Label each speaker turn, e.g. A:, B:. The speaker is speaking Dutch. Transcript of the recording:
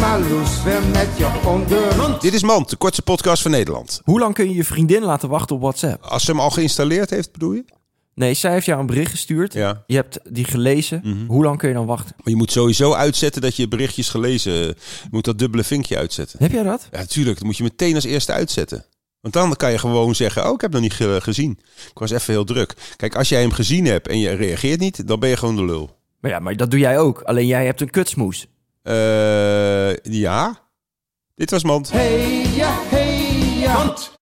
A: maar loes weer met je onderhand.
B: Dit is Mand, de kortste podcast van Nederland.
C: Hoe lang kun je je vriendin laten wachten op WhatsApp?
B: Als ze hem al geïnstalleerd heeft, bedoel je?
C: Nee, zij heeft jou een bericht gestuurd.
B: Ja.
C: Je hebt die gelezen. Hoe lang kun je dan wachten?
B: Maar je moet sowieso uitzetten dat je berichtjes gelezen... Je moet dat dubbele vinkje uitzetten.
C: Heb jij dat?
B: Ja, natuurlijk. Dat moet je meteen als eerste uitzetten. Want dan kan je gewoon zeggen, oh, ik heb nog niet ge- gezien. Ik was even heel druk. Kijk, als jij hem gezien hebt en je reageert niet, dan ben je gewoon de lul.
C: Maar ja, maar dat doe jij ook. Alleen jij hebt een kutsmoes.
B: Eh, ja. Dit was Mand.
A: Hey ja, hey ja.